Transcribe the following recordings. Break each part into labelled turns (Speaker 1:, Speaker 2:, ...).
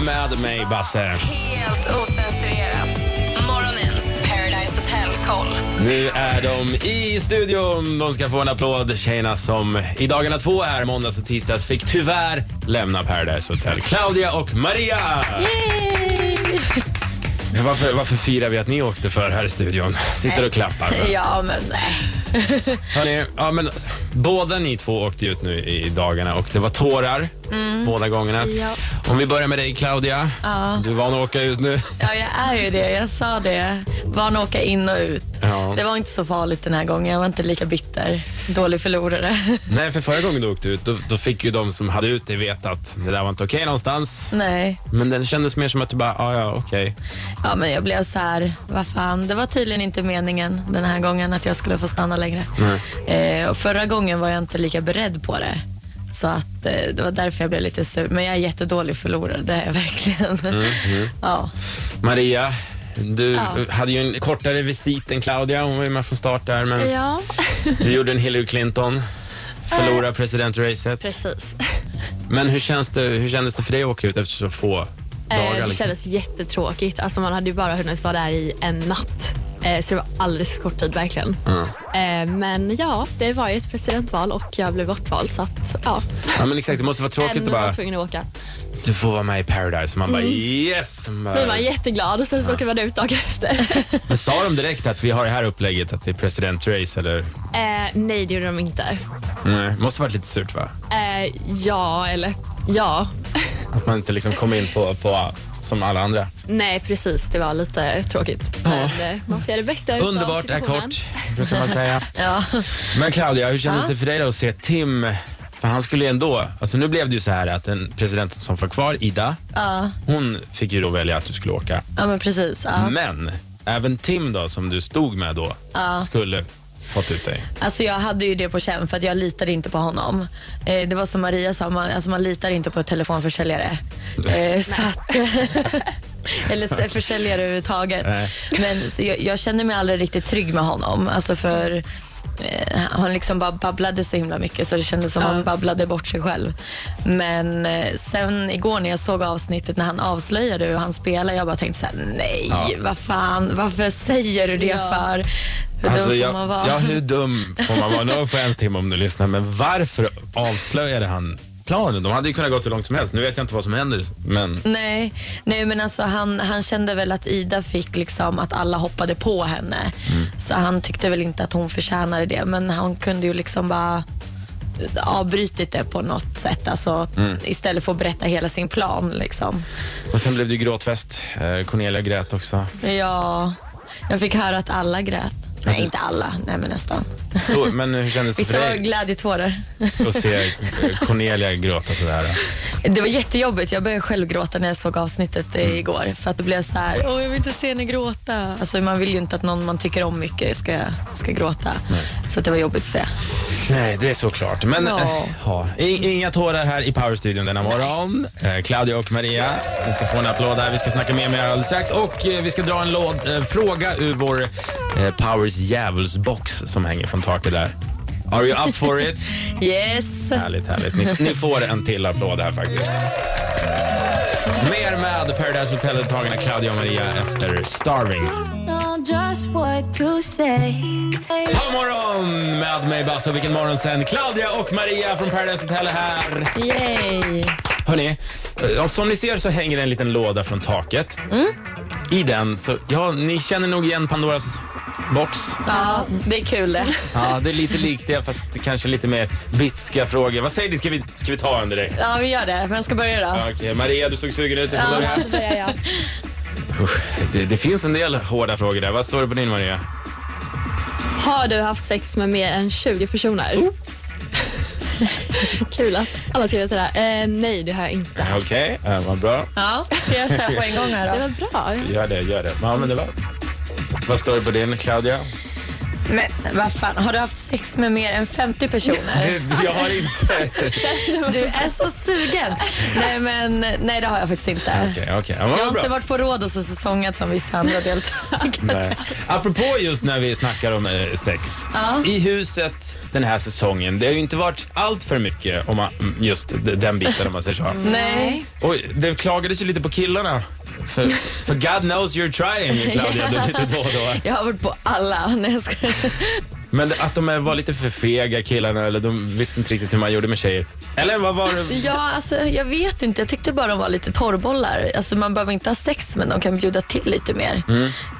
Speaker 1: med mig, Basse.
Speaker 2: Helt osensurerat. Morgonens Paradise Hotel koll.
Speaker 1: Nu är de i studion. De ska få en applåd, tjejerna som i dagarna två här, måndags och tisdags, fick tyvärr lämna Paradise Hotel. Claudia och Maria! Men Varför, varför firar vi att ni åkte för här i studion? Sitter och klappar.
Speaker 3: Ja, men nej.
Speaker 1: Hörrni, ja, men, alltså, båda ni två åkte ut nu i dagarna och det var tårar båda gångerna.
Speaker 3: Ja.
Speaker 1: Om vi börjar med dig Claudia. Du är van att åka ut nu.
Speaker 3: Ja, jag är ju det. Jag sa det. Barn åka in och ut.
Speaker 1: Ja.
Speaker 3: Det var inte så farligt den här gången. Jag var inte lika bitter. Dålig förlorare.
Speaker 1: Nej, för förra gången du åkte ut, då, då fick ju de som hade ut dig veta att det där var inte okej någonstans.
Speaker 3: nej.
Speaker 1: Men den kändes mer som att du bara, "Ah, ja, ja, okej.
Speaker 3: Ja, men jag blev så här, vad fan. Det var tydligen inte meningen den här gången att jag skulle få stanna längre. Eh, och förra gången var jag inte lika beredd på det. Så att eh, det var därför jag blev lite sur. Men jag är jättedålig förlorare, det är jag verkligen.
Speaker 1: Mm,
Speaker 3: Ja.
Speaker 1: Maria, du hade ju en kortare visit än Claudia. Hon var ju med från start där, men
Speaker 4: Ja,
Speaker 1: du gjorde en Hillary Clinton. Förlora presidentracet.
Speaker 4: Eh, precis.
Speaker 1: Men hur, känns det, hur kändes det för dig att åka ut efter så få dagar?
Speaker 4: Eh, det
Speaker 1: liksom?
Speaker 4: kändes jättetråkigt. Alltså man hade ju bara hunnit vara där i en natt. Eh, Så det var alldeles för kort tid verkligen. Eh, Men ja, det var ju ett presidentval och jag blev bortvald så att ja.
Speaker 1: Ja men exakt, det måste vara tråkigt
Speaker 4: Ändå
Speaker 1: att
Speaker 4: var
Speaker 1: bara,
Speaker 4: jag tvungen att åka.
Speaker 1: du får vara med i Paradise. Och man bara yes! Man
Speaker 4: Då
Speaker 1: bara,
Speaker 4: var man jätteglad och sen så åker man ut dagen efter.
Speaker 1: men sa de direkt att vi har det här upplägget, att det är presidentrace eller?
Speaker 4: Eh, Nej, det gjorde de inte.
Speaker 1: Nej, måste varit lite surt va?
Speaker 4: Eh, Ja, eller ja.
Speaker 1: Att man inte liksom kom in på, på som alla andra.
Speaker 4: Nej, precis. Det var lite tråkigt. Men eh, man får göra det bästa utav
Speaker 1: Underbart är
Speaker 4: situationen.
Speaker 1: kort, brukar man säga.
Speaker 3: Ja.
Speaker 1: Men Claudia, hur kändes det för dig då att se Tim? För han skulle ju ändå, alltså nu blev det ju så här att en president som var kvar, Ida,
Speaker 3: Ja.
Speaker 1: hon fick ju då välja att du skulle åka.
Speaker 3: ja, men precis. Ja.
Speaker 1: Men även Tim då, som du stod med då, skulle fått ut dig.
Speaker 3: Alltså jag hade ju det på känn för att jag litade inte på honom. Eh, det var som Maria sa, man, alltså man litar inte på telefonförsäljare. Eh, så att, eller så- försäljare överhuvudtaget.
Speaker 1: Nej.
Speaker 3: Men så jag, jag kände mig aldrig riktigt trygg med honom. Alltså för eh, han liksom bara babblade så himla mycket så det kändes som han babblade bort sig själv. Men eh, sen igår när jag såg avsnittet när han avslöjade hur han spelar, jag bara tänkte så här: nej,
Speaker 1: Ja.
Speaker 3: vad fan, varför säger du det
Speaker 4: Ja.
Speaker 3: för? Hur
Speaker 1: Alltså,
Speaker 3: dum får
Speaker 1: jag,
Speaker 3: man vara?
Speaker 1: ja, hur dum får man vara? No offense Tim om du lyssnar, men varför avslöjade han planen? De hade ju kunnat gå hur långt som helst. Nu vet jag inte vad som händer, men
Speaker 3: Nej, nej men alltså han, han kände väl att Ida fick liksom att alla hoppade på henne. Så han tyckte väl inte att hon förtjänade det. Men han kunde ju liksom bara avbrytit det på något sätt. Alltså, Istället för att berätta hela sin plan. Liksom.
Speaker 1: och sen blev det ju gråtfest. Eh, Cornelia grät också.
Speaker 3: Ja, jag fick höra att alla grät. Nej, inte alla. Nej, men nästan.
Speaker 1: Så, men hur kändes det för
Speaker 3: Vissa var
Speaker 1: dig
Speaker 3: glädjetårar.
Speaker 1: att se eh, Cornelia gråta sådär?
Speaker 3: Det var jättejobbigt. Jag började själv gråta när jag såg avsnittet eh,
Speaker 1: Mm.
Speaker 3: igår. För att det blev så här, åh jag vill inte se henne gråta. Alltså, man vill ju inte att någon man tycker om mycket ska, ska gråta. Så att det var jobbigt att se.
Speaker 1: Nej, det är såklart. Men
Speaker 3: Ja.
Speaker 1: eh, ja. I, inga tårar här i Powerstudion denna morgon. Eh, Claudia och Maria, ni ska få en applåd där. Vi ska snacka mer med er alldeles strax och eh, vi ska dra en låd, eh, fråga ur vår eh, Powers djävulsbox som hänger från taket där. Are you up for it?
Speaker 3: Yes!
Speaker 1: härligt, härligt. Ni, ni får en till applåd här faktiskt. Mer med Paradise Hotel-deltagarna Claudia och Maria efter Starving.
Speaker 5: know just what to say.
Speaker 1: God morgon med mig Basse och vilken morgon sen. Claudia och Maria från Paradise Hotel är här.
Speaker 3: Yay!
Speaker 1: Hörni, eh, som ni ser så hänger det en liten låda från taket. I den så, ja, ni känner nog igen Pandoras box.
Speaker 3: Ja, det är kul det.
Speaker 1: Ja, det är lite likt det fast kanske lite mer bitska frågor. Vad säger ni, ska vi, ska vi ta en direkt?
Speaker 3: Ja, vi gör det. Vem ska börja då?
Speaker 1: Ja, Okej, Maria du såg sugen ut. Du får börja. Usch, Det, det finns en del hårda frågor där. Vad står det på din Maria?
Speaker 4: Har du haft sex med mer än 20 personer? Kul att alla skriver till det här. Eh, nej, det har jag inte.
Speaker 1: Okej, okay, vad bra.
Speaker 3: Ja, ska jag köra på en gång här
Speaker 4: Det
Speaker 3: då?
Speaker 4: var bra.
Speaker 1: Gör det, gör det. Ja, men det var... Vad står det på din Claudia?
Speaker 3: Men vad fan, har du haft sex med mer än 50 personer?
Speaker 1: Det, jag har inte...
Speaker 3: Du är så sugen. Nej, men nej, det har jag faktiskt inte.
Speaker 1: Okej, okej. Ja, men
Speaker 3: Jag
Speaker 1: vad
Speaker 3: har inte
Speaker 1: bra.
Speaker 3: varit på Rhodos och säsongat som vissa andra deltagare.
Speaker 1: Nej. Apropå just när vi snackar om eh, sex. I huset den här säsongen, det har ju inte varit allt för mycket om man, mm, just d- den biten om man säger så.
Speaker 3: Mm. Nej.
Speaker 1: Och det klagades ju lite på killarna. För, för God knows you're trying, Claudia, det är lite då och då.
Speaker 3: Jag har varit på alla. Nej, jag ska...
Speaker 1: Men att de är- var lite för fega killarna eller de visste inte riktigt hur man gjorde med tjejer. Eller vad var det?
Speaker 3: Ja, alltså, jag vet inte. Jag tyckte bara de var lite torrbollar. Alltså, man behöver inte ha sex, men de kan bjuda till lite mer.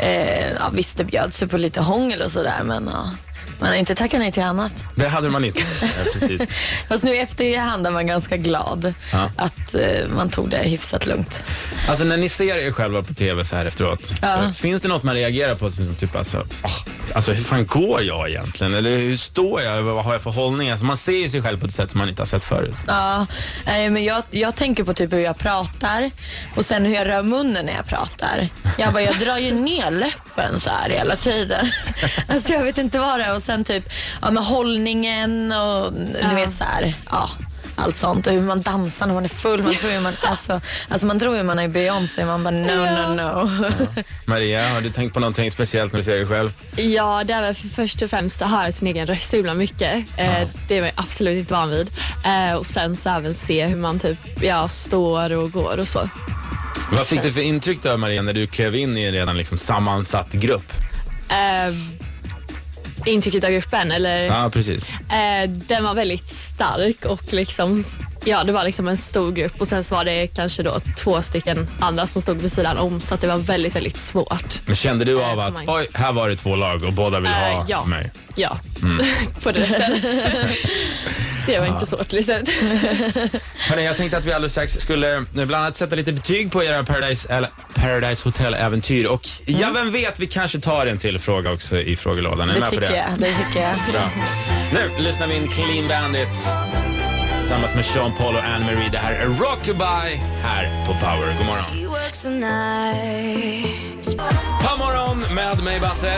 Speaker 3: Eh, ja, visst, det bjöds ju på lite hångel och sådär, men ja. man har inte tackat nej till annat.
Speaker 1: Det hade man inte. Ja, precis.
Speaker 3: Fast nu i efterhand är man ganska glad
Speaker 1: Ja.
Speaker 3: att eh, man tog det hyfsat lugnt.
Speaker 1: Alltså när ni ser er själva på TV så här efteråt,
Speaker 3: Ja.
Speaker 1: eh, finns det något man reagerar på? Som typ alltså, "Åh, alltså hur fan går jag egentligen? Eller hur står jag? Eller Vad har jag för hållning? Alltså, man ser ju sig själv på ett sätt som man inte har sett förut.
Speaker 3: Ja, nej, men jag, jag tänker på typ hur jag pratar och sen hur jag rör munnen när jag pratar. Jag bara, jag drar ju ner läppen så här hela tiden. Alltså jag vet inte vad det är. Och sen typ ja, med hållningen och du
Speaker 4: Ja.
Speaker 3: vet så här, ja. Allt sånt och hur man dansar när man är full. Man tror ju man, alltså, alltså man, tror ju man är Beyoncé. Man bara no, no, no.
Speaker 1: Maria, har du tänkt på någonting speciellt när du ser dig själv?
Speaker 4: Ja, det är väl för först och främst att höra sin egen röst så himla mycket. Eh, det är man ju absolut inte van vid. Eh, och sen så även se hur man typ, ja, står och går och så.
Speaker 1: Vad fick du för intryck då Maria när du klev in i en redan liksom sammansatt grupp?
Speaker 4: Eh, intrycket av gruppen, eller?
Speaker 1: Ja, precis.
Speaker 4: Eh, den var väldigt stark och liksom, ja, det var liksom en stor grupp och sen så var det kanske då två stycken andra som stod vid sidan om så att det var väldigt, väldigt svårt.
Speaker 1: Men kände du av
Speaker 4: Eh,
Speaker 1: att
Speaker 4: kom igen.
Speaker 1: oj, här var det två lag och båda vill
Speaker 4: Eh,
Speaker 1: ha
Speaker 4: ja.
Speaker 1: mig?
Speaker 4: Ja, på det Det var inte svårt liksom.
Speaker 1: Hörrni, jag tänkte att vi alldeles strax skulle eh, bland annat sätta lite betyg på era Paradise, eller Paradise Hotel-äventyr. Och ja, vem vet, vi kanske tar en till fråga också i frågelådan. Är ni
Speaker 3: Mm.
Speaker 1: med
Speaker 3: Det
Speaker 1: på
Speaker 3: tycker
Speaker 1: det?
Speaker 3: jag. Det tycker jag.
Speaker 1: Bra. Nu lyssnar vi in Clean Bandit tillsammans med Sean Paul och Anne Marie. Det här är Rockabye här på Power. God morgon.
Speaker 5: She works the night.
Speaker 1: God morgon med mig, Basse.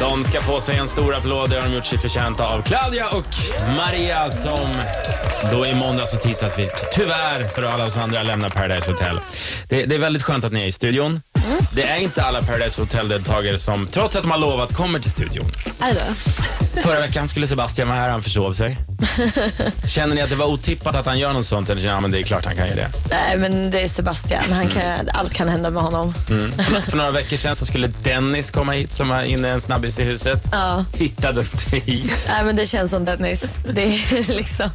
Speaker 1: De ska få sig en stor applåd. Det har de gjort sig förtjänta av Claudia och Maria som då i måndags och tisdags fick, tyvärr för alla oss andra, lämna Paradise Hotel. Det, det är väldigt skönt att ni är i studion. Det är inte alla Paradise Hotel-deltagare som, trots att de har lovat, kommer till studion. Förra veckan skulle Sebastian vara här, han försov sig. Känner ni att det var otippat att han gör något sånt? Eller känner ni, ja, men det är klart han kan göra det?
Speaker 3: Nej, men det är Sebastian. Han kan,
Speaker 1: Mm.
Speaker 3: Allt kan hända med honom.
Speaker 1: För några veckor sedan så skulle Dennis komma hit som är inne en snabbis i huset.
Speaker 3: Ja.
Speaker 1: Hittade inte hit.
Speaker 3: Nej, men det känns som Dennis. Det är liksom...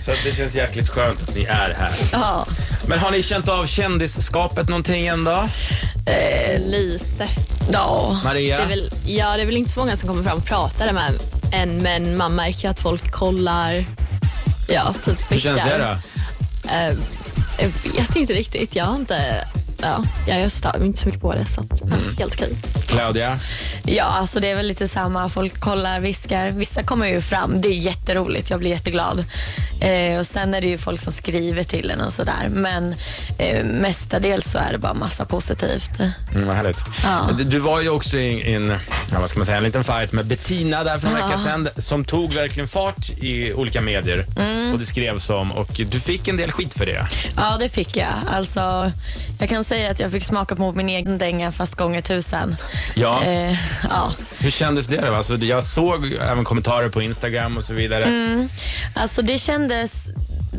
Speaker 1: Så att det känns jäkligt skönt att ni är här.
Speaker 3: Ja.
Speaker 1: Men har ni känt av kändisskapet någonting än då?
Speaker 4: Lite.
Speaker 3: Ja.
Speaker 1: Maria?
Speaker 4: Det är väl, ja, det är väl inte så många som kommer fram och pratar med en men man märker ju att folk kollar. Ja, typ
Speaker 1: Hur känns det då?
Speaker 4: Eh, jag vet inte riktigt. Jag har inte... Ja, jag stör mig inte så mycket på det, så att, ja,
Speaker 1: Mm.
Speaker 4: helt okej.
Speaker 1: Claudia?
Speaker 3: ja, alltså det är väl lite samma. Folk kollar, viskar. Vissa kommer ju fram. Det är jätteroligt. Jag blir jätteglad. Eh, och Sen är det ju folk som skriver till en och sådär. Men eh, mestadels så är det bara massa positivt.
Speaker 1: Mm, vad härligt.
Speaker 3: Ja.
Speaker 1: Du- Du var ju också i en, ja, vad ska man säga, en liten fight med Bettina där för en vecka sedan som tog verkligen fart i olika medier
Speaker 4: Mm.
Speaker 1: och det skrevs om och du fick en del skit för det.
Speaker 3: Ja, det fick jag. Alltså, jag kan säga att jag fick smaka på min egen dänga fast gånger tusen.
Speaker 1: Ja.
Speaker 3: Eh, ja.
Speaker 1: Hur kändes det? Då? Alltså, jag såg även kommentarer på Instagram och så vidare.
Speaker 3: Alltså det kändes,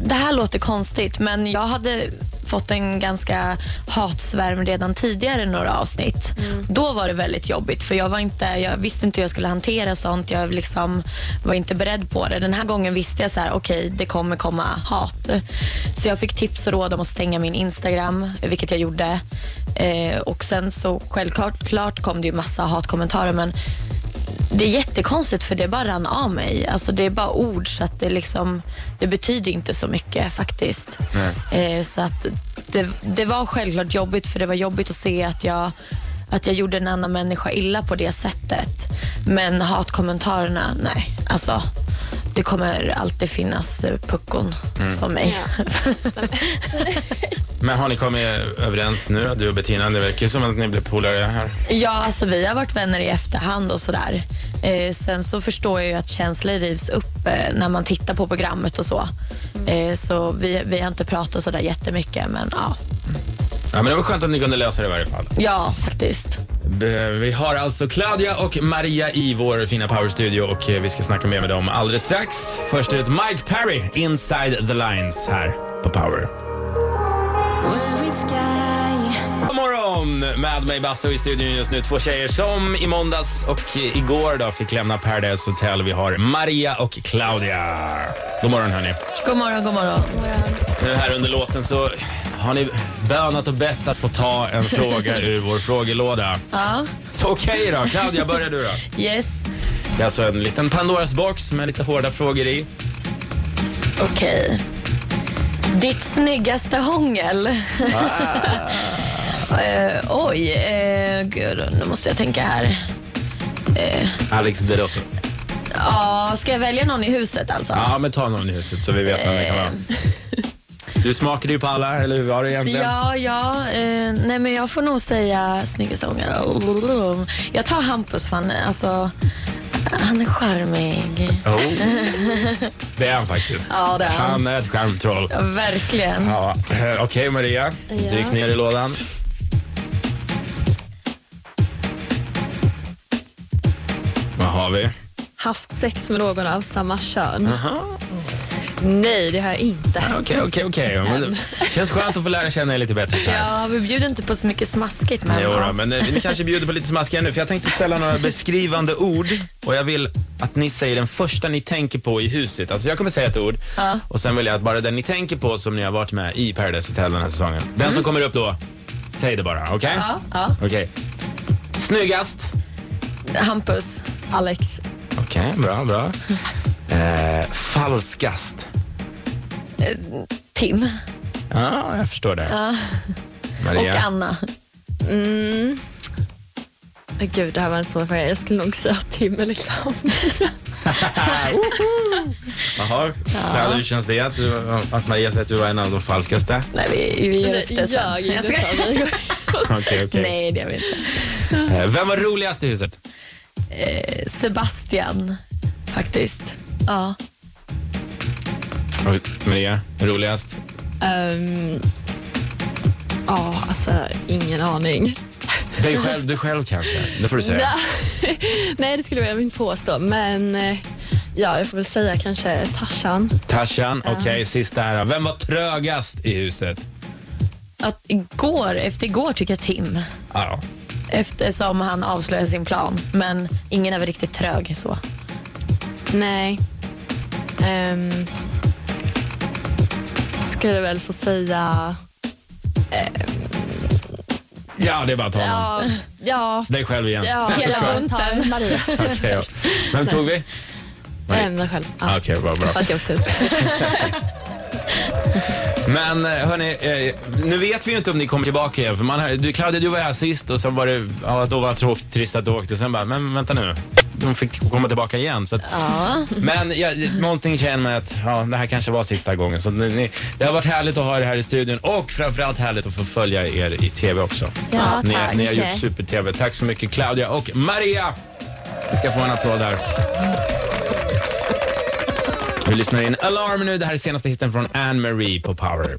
Speaker 3: det här låter konstigt men jag hade fått en ganska hatsvärm redan tidigare i några avsnitt. Då var det väldigt jobbigt för jag, var inte, jag visste inte hur jag skulle hantera sånt. Jag liksom var inte beredd på det. Den här gången visste jag så här, okej det kommer komma hat. Så jag fick tips och råd om att stänga min Instagram, vilket jag gjorde. Eh, och sen så självklart klart kom det ju massa hatkommentarer men det är jättekonstigt för det bara rann av mig. Alltså det är bara ord så att det liksom, det betyder inte så mycket faktiskt. Eh, så att det, det var självklart jobbigt för det var jobbigt att se att jag, att jag gjorde en annan människa illa på det sättet. Men hatkommentarerna, nej. Alltså, det kommer alltid finnas eh, puckon som mig.
Speaker 1: Men har ni kommit överens nu, du och Bettina? Det verkar ju som att ni blev polare här.
Speaker 3: Ja, alltså vi har varit vänner i efterhand och sådär. Eh, sen så förstår jag ju att känslor rivs upp eh, när man tittar på programmet och så. Eh, så vi, vi har inte pratat sådär jättemycket, men ja.
Speaker 1: Ja, men det var skönt att ni kunde lösa det i varje fall.
Speaker 3: Ja, faktiskt.
Speaker 1: B- Vi har alltså Claudia och Maria i vår fina powerstudio och eh, vi ska snacka mer med dem alldeles strax. Först ut Mike Perry, Inside the Lines här på Power.
Speaker 5: Worried sky.
Speaker 1: God morgon! Med mig Basse och i studion just nu två tjejer som i måndags och eh, igår då fick lämna Paradise Hotel. Vi har Maria och Claudia. God morgon hörni.
Speaker 3: God morgon, god morgon.
Speaker 1: Nu här under låten så har ni bönat och bett att få ta en fråga ur vår frågelåda.
Speaker 3: Ja,
Speaker 1: Så okej då, Claudia börjar du då.
Speaker 3: yes.
Speaker 1: Det är alltså en liten Pandoras box med lite hårda frågor i.
Speaker 3: Okej. Ditt snyggaste hångel? eh, oj, eh, gud, nu måste jag tänka här.
Speaker 1: Alex Derosso.
Speaker 3: Ja, ska jag välja någon i huset alltså?
Speaker 1: Ja, men ta någon i huset så vi vet vem det kan
Speaker 3: Eh.
Speaker 1: vara. Du smakade ju på alla, eller hur var det egentligen?
Speaker 3: Ja, ja. Eh, nej, men jag får nog säga snyggaste hångel. Jag tar Hampus, för han, är- alltså, han är charmig.
Speaker 1: Oh. Det är han faktiskt.
Speaker 3: Ja, det är han.
Speaker 1: Han är ett skärmtroll.
Speaker 3: Ja, verkligen.
Speaker 1: Ja, Okej Maria, du gick ner i lådan. Vad har vi?
Speaker 4: Haft sex med någon av samma kön? Nej, det har jag inte.
Speaker 1: Okej, okej, okej. Men det Känns skönt att få lära känna er lite bättre så här.
Speaker 3: Ja, vi bjuder inte på så mycket smaskigt. Men,
Speaker 1: Jo, då, men eh, ni kanske bjuder på lite smaskiga nu för jag tänkte ställa några beskrivande ord och jag vill att ni säger den första ni tänker på i huset. Alltså jag kommer säga ett ord och sen vill jag att bara den ni tänker på som ni har varit med i Paradise Hotel den här säsongen. Den som kommer upp då, säg det bara. Okej?
Speaker 3: Mm. Ja, ja.
Speaker 1: Okej. Snyggast.
Speaker 3: Hampus.
Speaker 4: Alex,
Speaker 1: Okej, bra, bra. Eh, falskast.
Speaker 3: Tim
Speaker 1: Ja, jag förstår det.
Speaker 3: och
Speaker 1: Maria.
Speaker 3: Anna.
Speaker 4: Mm. Men Gud, det här var en svår fråga. Jag skulle nog säga Tim eller Claudia.
Speaker 1: Jaha, ja. hur känns det att, du, att Maria säger att du var en av de falskaste?
Speaker 3: Nej, vi, vi gör upp det
Speaker 4: Jag,
Speaker 3: sen.
Speaker 4: jag,
Speaker 3: Nej, ska-
Speaker 4: jag,
Speaker 1: Okej, okej.
Speaker 3: Nej, det gör vi inte.
Speaker 1: Eh, Vem var roligast i huset?
Speaker 3: Sebastian, faktiskt. Ja.
Speaker 1: Och Maria, roligast?
Speaker 4: Ehm, Ja, alltså ingen aning.
Speaker 1: Dig själv, du själv kanske? Det får du säga.
Speaker 4: Nej, det skulle jag inte påstå, men eh, ja, jag får väl säga kanske Tarzan.
Speaker 1: Tarzan, okej, sista här. Vem var trögast i huset?
Speaker 3: Att igår, efter igår tycker jag Tim.
Speaker 1: Ja.
Speaker 3: Eftersom han avslöjade sin plan. Men ingen är väl riktigt trög så.
Speaker 4: Nej. Ehm, skulle väl få säga...
Speaker 1: ja, det är bara att ta honom.
Speaker 4: Ja, ja.
Speaker 1: Dig själv igen.
Speaker 4: ja
Speaker 1: Jag
Speaker 3: hela
Speaker 1: skojar.
Speaker 3: mun. bunten.
Speaker 4: Maria.
Speaker 1: Okej, ja. Vem tog vi?
Speaker 4: Nej, mig själv. Ja.
Speaker 1: Okej, bra, bra.
Speaker 4: För att jag åkte ut.
Speaker 1: Men eh, hörni, eh, nu vet vi ju inte om ni kommer tillbaka igen. För man, har- du, Claudia, du var här sist och sen var det, ja, då var det tråkigt, trist att du åkte. Sen bara, men vänta nu. De fick komma tillbaka igen. Så att, Men jag, någonting känner mig att ja, det här kanske var sista gången. Så ni, ni, det har varit härligt att ha er här i studion och framförallt härligt att få följa er i TV också.
Speaker 4: Ja,
Speaker 1: ni,
Speaker 4: tack.
Speaker 1: ni har gjort super-TV. Tack så mycket Claudia och Maria. Vi ska få en applåd där. Vi lyssnar in Alarm nu. Det här är senaste hitten från Anne Marie på Power.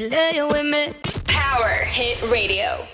Speaker 5: You lay with me.
Speaker 2: Power Hit Radio.